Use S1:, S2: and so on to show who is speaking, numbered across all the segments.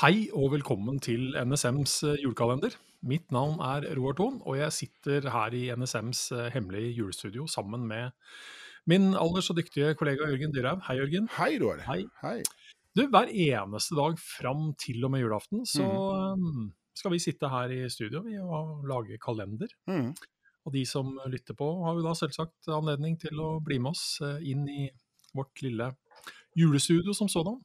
S1: Hei og velkommen til NSMs eh, julekalender. Mitt navn er Roar Thon, og jeg sitter her i NSMs eh, hemmelige julestudio sammen med min aller så dyktige kollega Jørgen Dyrhaug. Hei, Jørgen.
S2: Hei, Roar.
S1: Hei.
S2: Hei.
S1: Du, hver eneste dag fram til og med julaften så um, skal vi sitte her i studio vi, og lage kalender.
S2: Mm.
S1: Og de som lytter på, har jo da selvsagt anledning til å bli med oss eh, inn i vårt lille julestudio som sådan.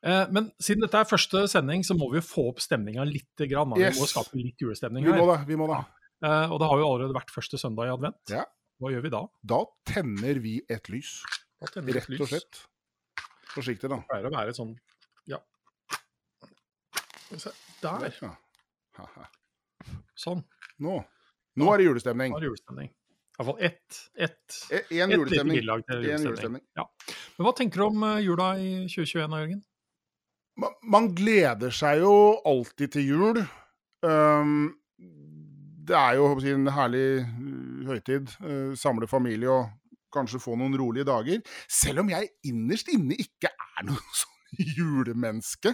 S1: Eh, Men siden dette er første sending, så må vi jo få opp stemninga litt. Grann, da.
S2: Yes.
S1: Vi må skape litt julestemning
S2: Vi må
S1: her.
S2: da, vi må da.
S1: Eh, Og det har jo allerede vært første søndag i advent.
S2: Ja.
S1: Hva gjør vi da?
S2: Da tenner vi et lys,
S1: Da tenner vi et
S2: rett og
S1: lys.
S2: slett. Forsiktig, da.
S1: Det pleier å være et sånn Ja. Skal vi se. Der.
S2: Ja. Haha.
S1: Sånn.
S2: Nå. Nå er det julestemning.
S1: Da er det julestemning. Iallfall ett. Ett.
S2: E-
S1: Et
S2: En
S1: lite
S2: julestemning.
S1: bidrag til
S2: En
S1: julestemning.
S2: julestemning.
S1: Men hva tenker du om eh, jula i 2021 da, Jørgen?
S2: Ma- Man gleder seg jo alltid til jul. Ehm, det er jo håper jeg, å si, en herlig uh, høytid. eh, samle familie og kanskje få noen rolige dager. Selv om jeg innerst inne ikke er noe sånn julemenneske,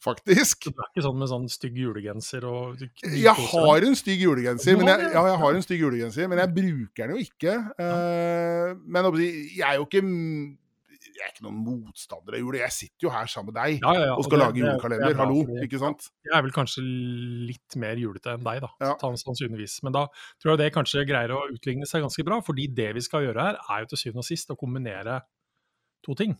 S2: faktisk.
S1: Du er ikke sånn med sånn stygg julegenser og
S2: Jeg har en stygg julegenser,
S1: Du
S2: men
S1: har
S2: jeg,
S1: det,
S2: ja, jeg har en stygg julegenser, men jeg bruker den jo ikke. Eh, men jeg er jo ikke Jeg er ikke noen motstander av jul. Jeg sitter jo her sammen med deg
S1: ja, ja, ja,
S2: og skal
S1: det-
S2: lage
S1: det- det er
S2: julekalender.
S1: bra,
S2: Hallo,
S1: fordi-
S2: ikke sant?
S1: Jeg er vel kanskje litt mer julete enn deg, da.
S2: Ja.
S1: Ta- Sannsynligvis. Men da tror jeg det kanskje greier å utligne seg ganske bra. Fordi det vi skal gjøre her, er jo til syvende og sist å kombinere to ting.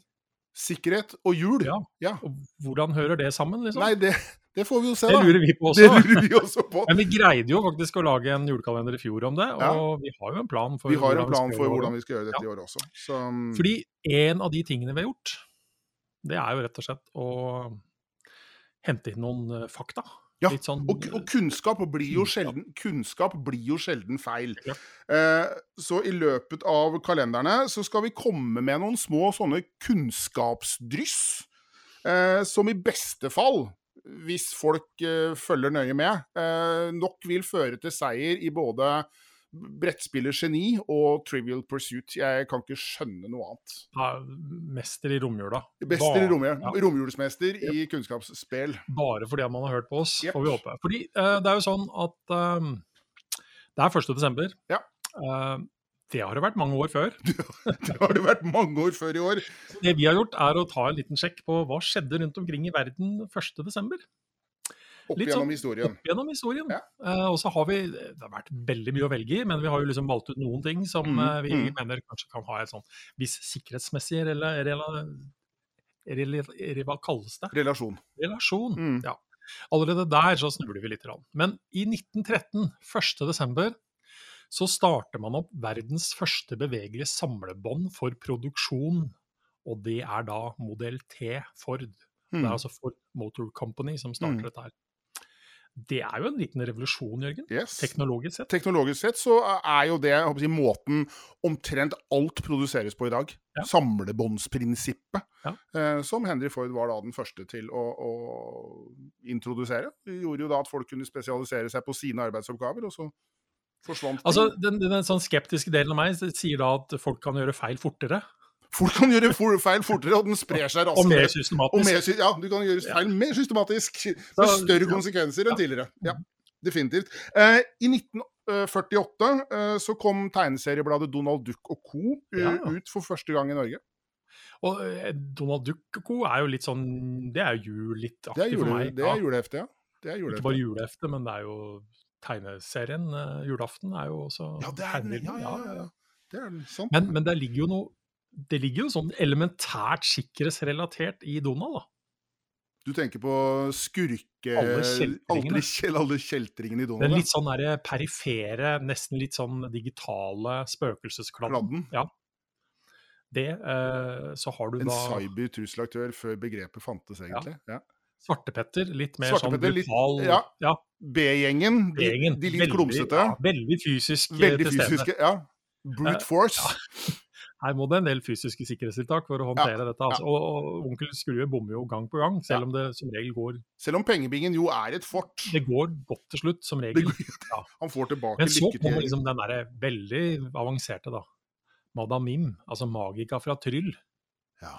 S2: Sikkerhet og jul.
S1: Ja.
S2: Ja.
S1: Og hvordan hører det sammen, liksom?
S2: Nei, det, det får vi jo se,
S1: det
S2: da.
S1: lurer vi på
S2: Det
S1: også.
S2: lurer vi også på.
S1: Men vi greide jo faktisk å lage en julekalender i fjor om det, og
S2: Ja.
S1: vi har jo en plan for
S2: Vi har
S1: hvordan
S2: en plan
S1: skal
S2: for
S1: gjøre
S2: hvordan
S1: det.
S2: vi skal gjøre dette i år også. Så, mm,
S1: Fordi en av de tingene vi har gjort, det er jo rett og slett å hente inn noen eh, fakta.
S2: Ja,
S1: Litt sånn
S2: Og, og kunnskap blir jo
S1: Kunnskap.
S2: sjelden, kunnskap blir jo sjelden feil.
S1: Ja.
S2: Eh, så i løpet av kalenderne så skal vi komme med noen små sånne kunnskapsdryss, eh, som i beste fall, hvis folk eh, følger nøye med, eh, nok vil føre til seier i både brettspillet Geni og Trivial Pursuit. Jeg kan ikke skjønne noe annet.
S1: eh, mester i romjula.
S2: Bester i
S1: Bare-
S2: romjul,
S1: ja.
S2: romjulsmester i kunnskapsspill.
S1: Bare fordi man har hørt på oss,
S2: Jepp.
S1: får vi håpe. Fordi eh, det er jo sånn at eh, det er 1. desember.
S2: Ja.
S1: Eh, det har det vært mange år før.
S2: Det har det vært mange år før i år.
S1: Det vi har gjort, er å ta en liten sjekk på hva skjedde rundt omkring i verden 1. desember.
S2: Opp
S1: Litt sånn-
S2: gjennom historien.
S1: Opp gjennom historien.
S2: Ja.
S1: Eh, og så har vi Det har vært veldig mye å velge i, men vi har jo liksom valgt ut noen ting som
S2: Mhm,
S1: eh, vi
S2: mhm.
S1: mener kanskje kan ha et sånn viss sikkerhetsmessig eller, Hva kalles det?
S2: Relasjon.
S1: Relasjon.
S2: Mm.
S1: Ja. Allerede der så snubler vi litt. grann. Men i 1913, 1. desember, så starter man opp verdens første bevegelige samlebånd for produksjon. Og det er da modell T Ford. Det er
S2: Mm.
S1: altså Ford Motor Company som starter
S2: Mm.
S1: dette her. Det er jo en liten revolusjon, Jørgen.
S2: Yes.
S1: Teknologisk sett.
S2: Teknologisk sett så er jo det jeg håper å si, måten omtrent alt produseres på i dag.
S1: Ja.
S2: Samlebåndsprinsippet.
S1: Ja.
S2: Eh, som Henry Ford var da den første til å, å introdusere. Det gjorde jo da at folk kunne spesialisere seg på sine arbeidsoppgaver, og så forsvant ting.
S1: Altså, den, den sånn skeptiske delen av meg sier da at folk kan gjøre feil fortere
S2: Folk kan gjøre for, feil fortere, og den sprer seg
S1: og mer
S2: raskere. altså, Og
S1: systematisk.
S2: mer, sy- ja, du kan gjøre
S1: Ja.
S2: feil mer systematisk, med
S1: Så-
S2: større
S1: ja.
S2: konsekvenser
S1: Ja.
S2: enn tidligere. Ja, definitivt. Eh, I 1948 eh, så kom tegneseriebladet Donald Duck og co. eh,
S1: Ja.
S2: ut for første gang i Norge.
S1: Og eh, Donald Duck og co. er jo litt sånn Det er jo
S2: Det er,
S1: julelitt-aktig for
S2: jule,
S1: meg.
S2: det
S1: Ja,
S2: er julehefte, ja. Det er
S1: Ikke
S2: julehefte.
S1: bare julehefte, men det er jo tegneserien. eh, julaften er jo også
S2: Ja, det er den.
S1: tegneserien.
S2: Ja, ja, ja, ja. Det er den. Sant.
S1: Men, men det ligger jo noe Det ligger jo sånn elementært sikkerhetsrelatert i Donald, da.
S2: Du tenker på skurke...
S1: Alle kjeltringene.
S2: Alle, kjel, alle kjeltringene
S1: Den
S2: i Donald.
S1: litt sånn derre perifere, nesten litt sånn digitale
S2: ja.
S1: spøkelseskladden.
S2: Kladden.
S1: Det, eh, så har du
S2: En
S1: da
S2: cybertrusselaktør før begrepet fantes, egentlig. Ja.
S1: Svartepetter, litt mer
S2: Svartepetter,
S1: sånn
S2: litt-
S1: brutal
S2: ja, B-gjengen, de,
S1: gjengen.
S2: de litt
S1: Veldig-
S2: klumsete.
S1: ja, Eh, veldig fysisk eh,
S2: Veldig
S1: til stede.
S2: fysiske, ja. Brute force.
S1: Her må det en del fysiske sikkerhetstiltak for å håndtere dette. Altså. Og, og onkel Skrue bommer jo gang på gang, selv
S2: Ja.
S1: om det som regel går
S2: Selv om pengebingen jo er et fort.
S1: Det går godt til slutt, som regel.
S2: Han får tilbake
S1: Men så
S2: lykke til.
S1: kommer liksom den derre veldig avanserte, da. Madame Mim, altså magika fra Tryll.
S2: Ja.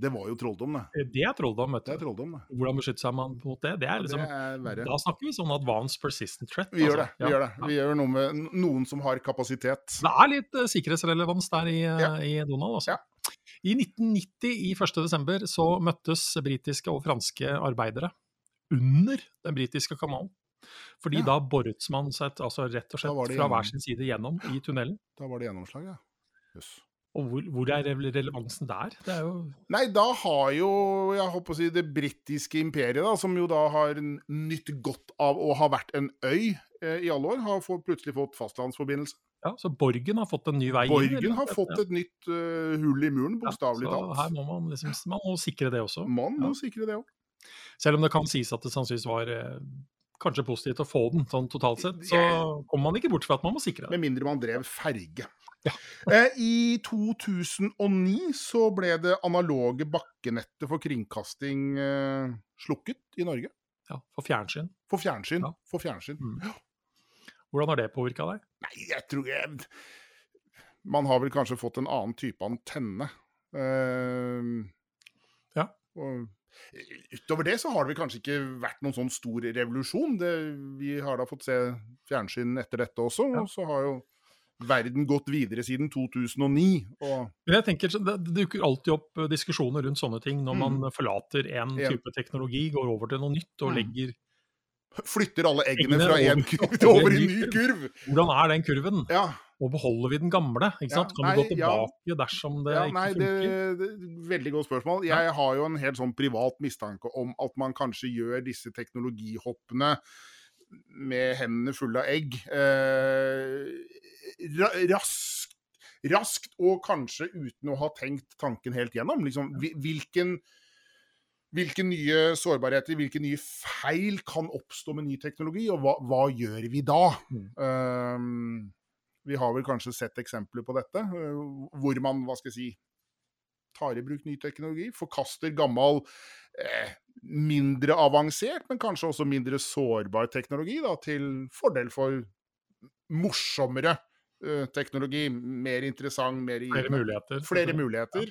S2: Det var jo trolldom, det.
S1: Det er trolldom, vet
S2: Det er
S1: du.
S2: trolldom, det.
S1: Hvordan beskytter seg man mot det? Det er
S2: Det
S1: liksom,
S2: er verre.
S1: Da snakker vi sånn advanced persistent threat.
S2: Vi gjør det.
S1: altså.
S2: Vi
S1: Ja.
S2: gjør det. Vi gjør noe med n- noen som har kapasitet.
S1: Det er litt eh, sikkerhetsrelevans der i, eh,
S2: Ja.
S1: i Donald, altså.
S2: Ja.
S1: I 1990, i 1. desember, så møttes britiske og franske arbeidere under den britiske kanalen. Fordi
S2: Ja.
S1: da boret man seg et- altså rett og
S2: Da var
S1: slett
S2: det
S1: fra
S2: gjennom.
S1: hver sin side gjennom i tunnelen.
S2: Da var det gjennomslag, ja. Jøss.
S1: Og hvor, hvor er rele- relevansen der? Det er jo
S2: Nei, da har jo jeg håper å si, det britiske imperiet, da, som jo da har n- nytt godt av å ha vært en øy eh, i alle år, har få- plutselig fått fastlandsforbindelse.
S1: ja, Så Borgen har fått en ny vei inn, eller?
S2: Borgen har fått
S1: Ja.
S2: et nytt eh, hull i muren,
S1: Ja,
S2: bokstavelig
S1: Så her
S2: talt.
S1: må man liksom man må sikre det også.
S2: Man må
S1: Ja.
S2: sikre det òg.
S1: Selv om det kan sies at det sannsynligvis var eh, kanskje positivt å få den sånn totalt sett, så kommer man ikke bort fra at man må sikre det.
S2: Med mindre man drev ferge.
S1: Ja.
S2: eh, I 2009 så ble det analoge bakkenettet for kringkasting eh, slukket i Norge.
S1: Ja, for fjernsyn.
S2: For fjernsyn.
S1: Ja.
S2: For fjernsyn.
S1: Mm. Hvordan har det påvirka deg?
S2: Nei, jeg tror jeg Man har vel kanskje fått en annen type antenne. Eh,
S1: Ja.
S2: Og, utover det så har det vel kanskje ikke vært noen sånn stor revolusjon. Det, vi har da fått se fjernsyn etter dette også,
S1: Ja.
S2: og så har jo verden gått videre siden 2009. Og
S1: Men jeg tenker, så Det det dukker alltid opp eh, diskusjoner rundt sånne ting når man forlater en
S2: Mm. Ja.
S1: type teknologi, går over til noe nytt og
S2: Mm.
S1: legger
S2: flytter alle eggene
S1: Eggene
S2: fra
S1: over-
S2: én kurv til over i en ny kurv!
S1: Hvordan er den kurven?
S2: Ja,
S1: Og beholder vi den gamle? ikke
S2: Ja,
S1: sant? Kan du
S2: nei,
S1: gå tilbake dersom det
S2: ja
S1: ikke
S2: nei, det,
S1: funker?
S2: det Veldig godt spørsmål. Jeg har jo en helt sånn privat mistanke om at man kanskje gjør disse teknologihoppene med hendene fulle av egg eh, ra raskt, raskt, og kanskje uten å ha tenkt tanken helt gjennom. Liksom, hvi- hvilken Hvilke nye sårbarheter, hvilke nye feil kan oppstå med ny teknologi, og hva, hva gjør vi da?
S1: Mm.
S2: Um, vi har vel kanskje sett eksempler på dette, eh, hvor man hva skal jeg si, tar i bruk ny teknologi, forkaster gammel, eh, mindre avansert, men kanskje også mindre sårbar teknologi, da, til fordel for morsommere eh, teknologi. Mer interessant, mer
S1: Flere
S2: givende.
S1: muligheter.
S2: Flere muligheter.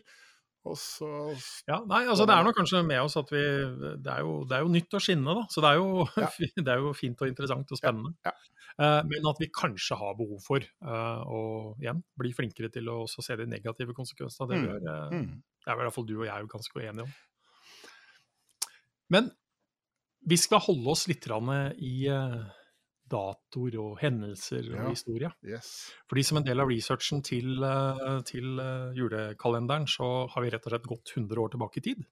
S2: Og så
S1: Ja, nei, altså Det er nok kanskje med oss at vi Det er jo, det er jo nytt å skinne, da. Så det er, jo, det er jo fint og interessant og spennende.
S2: Ja,
S1: Eh, men at vi kanskje har behov for eh, å igjen bli flinkere til å også se de negative konsekvensene av det vi
S2: Mm.
S1: gjør. eh,
S2: mm.
S1: Det er vel i hvert fall du og jeg er jo ganske uenige om. Men vi skal holde oss litt grann i eh, datoer og hendelser og
S2: Ja.
S1: historie.
S2: Yes.
S1: Fordi som en del av researchen til, eh, til eh, julekalenderen, så har vi rett og slett gått 100 år tilbake i tid.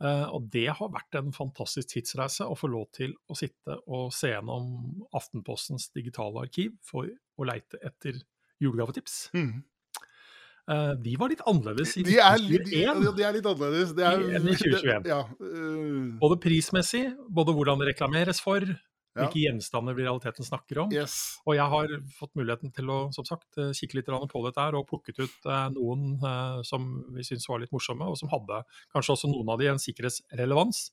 S1: Eh, og det har vært en fantastisk tidsreise å få lov til å sitte og se gjennom Aftenpostens digitale arkiv for å leite etter julegavetips.
S2: Mm.
S1: Eh, de var litt annerledes i
S2: De, er litt,
S1: 1921.
S2: de, de er litt annerledes. Det er,
S1: I- enn i 2021.
S2: Ja, eh,
S1: Både prismessig, både hvordan det reklameres for,
S2: ja.
S1: hvilke gjenstander vi i realiteten snakker om.
S2: Yes.
S1: Og jeg har fått muligheten til å som sagt, eh, kikke litt grann på dette her, og plukket ut eh, noen eh, som vi syntes var litt morsomme, og som hadde kanskje også noen av de en sikkerhetsrelevans.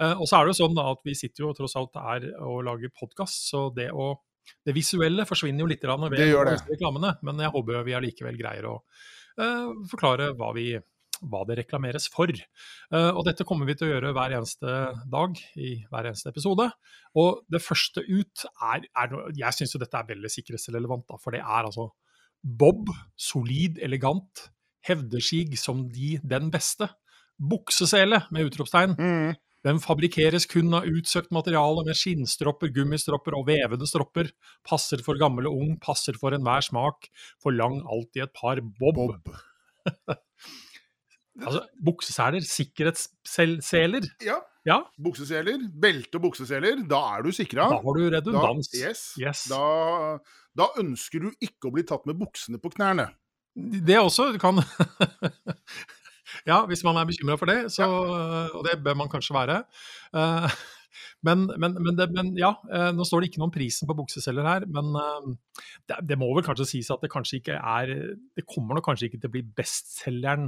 S1: Eh, og så er det jo sånn da, at vi sitter jo tross alt her og lager podkast, så det å det visuelle forsvinner jo litt grann ved
S2: Det gjør det.
S1: disse reklamene, men jeg håper vi allikevel greier å eh, forklare hva, vi, hva det reklameres for. Eh, og dette kommer vi til å gjøre hver eneste dag i hver eneste episode. Og det første ut er, er noe- Jeg syns jo dette er veldig sikkerhetsrelevant, da, for det er altså Bob, solid, elegant, hevder sig som de den beste. Buksesele med utropstegn.
S2: Mm.
S1: Den fabrikkeres kun av utsøkt materiale med skinnstropper, gummistropper og vevede stropper. Passer for gammel og ung, passer for enhver smak. Forlang alltid et par bob.
S2: Bob.
S1: Altså, bukseseler, sikkerhetsseler.
S2: Ja.
S1: Ja.
S2: Bukseseler. Belte og bukseseler. Da er du sikra.
S1: Da har du redundans.
S2: Da, yes.
S1: Yes.
S2: Da, da ønsker du ikke å bli tatt med buksene på knærne.
S1: Det også kan Ja, hvis man er bekymra for det, så, og det bør man kanskje være. Eh, Men, men, men, det, men ja, eh, nå står det ikke noe om prisen på bukseselger her, men eh, det, det må vel kanskje sies at det kanskje ikke er Det kommer nok kanskje ikke til å bli bestselgeren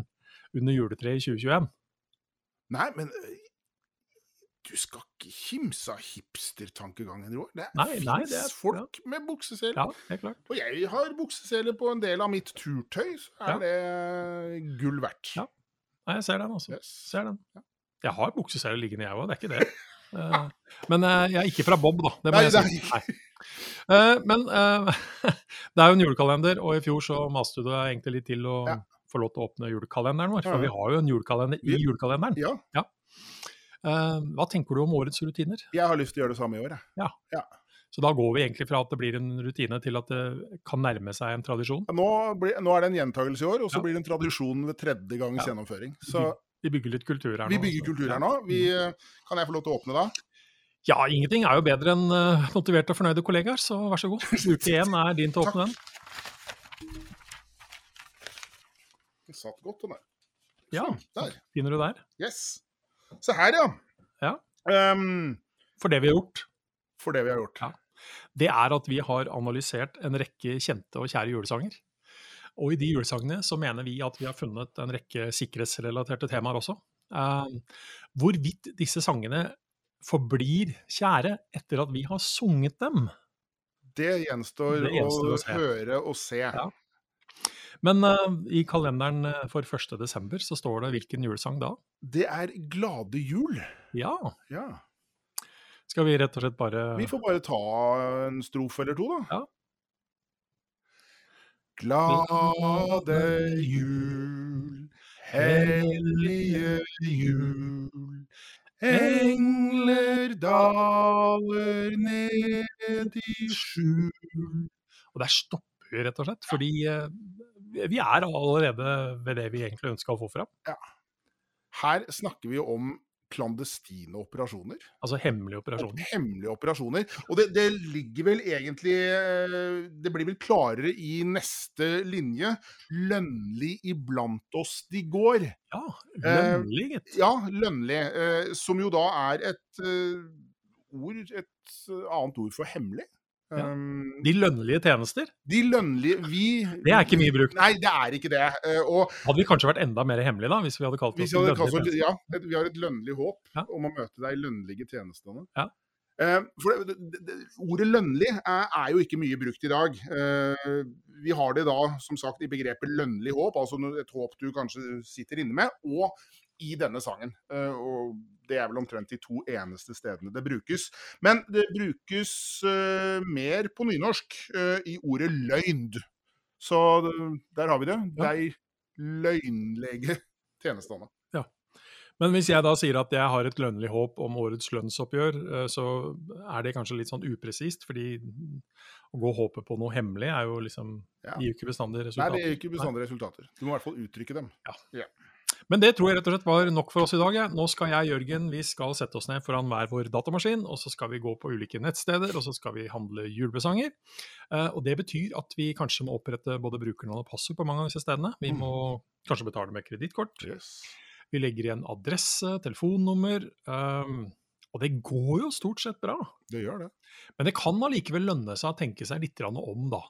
S1: under juletreet i 2021.
S2: Nei, men øh, du skal ikke kimse av hipstertankegangen, Roar. Det
S1: Nei, nei, det
S2: fins
S1: er-
S2: folk med bukseseler.
S1: Ja, det er klart.
S2: Og jeg har bukseseler på en del av mitt turtøy, så er det eh, gull verdt.
S1: Ja. Nei, jeg ser den, altså.
S2: Yes.
S1: Ser den. Jeg har buksesele liggende, jeg òg, det er ikke det. Eh, men eh, jeg er ikke fra Bob, da. Det må
S2: Nei,
S1: jeg si. Nei. Eh, men eh, det er jo en julekalender, og i fjor så maste du deg egentlig litt til å
S2: Ja.
S1: få lov til å åpne julekalenderen vår.
S2: Ja,
S1: For
S2: ja.
S1: vi har jo en julekalender i
S2: Vi-
S1: julekalenderen.
S2: Ja,
S1: Eh, hva tenker du om årets rutiner?
S2: jeg har lyst til å gjøre det samme i år, jeg.
S1: Så da går vi egentlig fra at det blir en rutine, til at det kan nærme seg en tradisjon.
S2: Nå, blir, nå er det en gjentagelse i år, og så
S1: Ja.
S2: blir det en tradisjon ved tredje gangs
S1: Ja. Mm.
S2: gjennomføring. Så
S1: Vi bygger litt kultur her nå.
S2: vi bygger
S1: altså.
S2: kultur
S1: Ja.
S2: her nå. Vi, eh, kan jeg få lov til å åpne da?
S1: Ja, ingenting er jo bedre enn eh, motiverte og fornøyde kollegaer, så vær så god. Uke én er din til å åpne den.
S2: Den satt godt, den der.
S1: Ja,
S2: Der.
S1: finner du der.
S2: Yes. Se her, ja.
S1: Ja.
S2: Ehm,
S1: For det vi har gjort,
S2: for det vi har gjort.
S1: Ja. det er at vi har analysert en rekke kjente og kjære julesanger. Og i de julesangene så mener vi at vi har funnet en rekke sikkerhetsrelaterte temaer også. Eh, hvorvidt disse sangene forblir kjære etter at vi har sunget dem.
S2: Det gjenstår,
S1: Det gjenstår å se.
S2: å høre og se.
S1: Ja. Men eh, i kalenderen eh, for 1. desember så står det hvilken julesang da?
S2: Det er Glade jul.
S1: Ja,
S2: Ja.
S1: skal vi rett og slett bare
S2: Vi får bare ta en strofe eller to, da.
S1: Ja.
S2: Glade jul, hellige jul. Engler daler ned i skjul.
S1: Og der stopper vi, rett og slett. Fordi eh, vi er allerede ved det vi egentlig ønska å få fram.
S2: Her snakker vi jo om klandestine operasjoner.
S1: Altså hemmelige operasjoner.
S2: Hemmelige operasjoner. Og det, det ligger vel egentlig eh, Det blir vel klarere i neste linje. Lønnlig iblant oss de går.
S1: Ja,
S2: Eh,
S1: lønnlig, gitt.
S2: Ja, lønnlig. Eh, som jo da er et eh, ord Et eh, annet ord for hemmelig.
S1: Ja.
S2: Um,
S1: De lønnlige tjenester.
S2: de lønnlige Vi
S1: Det er ikke mye bruk.
S2: Nei, det er ikke det. Eh, og
S1: Hadde vi kanskje vært enda mer hemmelige da, hvis vi hadde kalt
S2: Hvis
S1: oss
S2: jeg
S1: lønnlige
S2: hadde kalt for,
S1: tjenester?
S2: ja, et, vi har et lønnlig håp
S1: Ja.
S2: om å møte deg i lønnlige tjenestene.
S1: Ja.
S2: Eh, for det, det, det, ordet 'lønnlig' er, er jo ikke mye brukt i dag. Eh, vi har det da som sagt i begrepet 'lønnlig håp', altså no- et håp du kanskje sitter inne med, og i denne sangen. Eh, og det er vel omtrent de to eneste stedene det brukes. Men det brukes eh, mer på nynorsk eh, i ordet 'løgnd'. Så det- der har vi det.
S1: Ja.
S2: De løgnlege tjenestene.
S1: Men hvis jeg da sier at jeg har et lønnlig håp om årets lønnsoppgjør, eh, så er det kanskje litt sånn upresist, fordi å gå og håpe på noe hemmelig er jo liksom
S2: Ja.
S1: gir jo ikke bestandig
S2: Nei,
S1: resultat.
S2: det er ikke bestandig resultater. Du må i hvert fall uttrykke dem.
S1: Men det tror jeg rett og slett var nok for oss i dag. jeg. Nå skal jeg, Jørgen, vi skal sette oss ned foran hver vår datamaskin, og så skal vi gå på ulike nettsteder, og så skal vi handle julepresanger. Eh, og det betyr at vi kanskje må opprette både brukernavn og passord på mange av disse stedene. Vi
S2: Mm.
S1: må kanskje betale med kredittkort. Vi legger igjen adresse, telefonnummer. ehm, og det går jo stort sett bra.
S2: Det gjør det.
S1: Men det kan allikevel lønne seg å tenke seg litt grann om, da.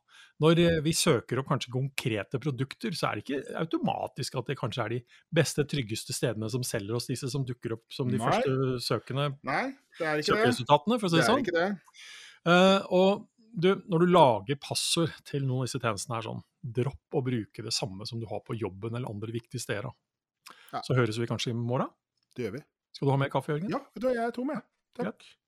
S1: Når eh, vi søker opp kanskje konkrete produkter, så er det ikke automatisk at det kanskje er de beste, tryggeste stedene som selger oss disse som dukker opp som de
S2: Nei.
S1: første søkende
S2: Nei, det er ikke det.
S1: søkeresultatene, for å si det
S2: Det er
S1: sånn.
S2: ikke det.
S1: Eh, og du, når du lager passord til noen av disse tjenestene her sånn, dropp å bruke det samme som du har på jobben eller andre viktige steder. da.
S2: Ja.
S1: Så høres vi kanskje i morgen.
S2: Det gjør vi.
S1: Skal du ha mer kaffe, Jørgen?
S2: Ja, vet du hva, jeg er tom, jeg. Takk.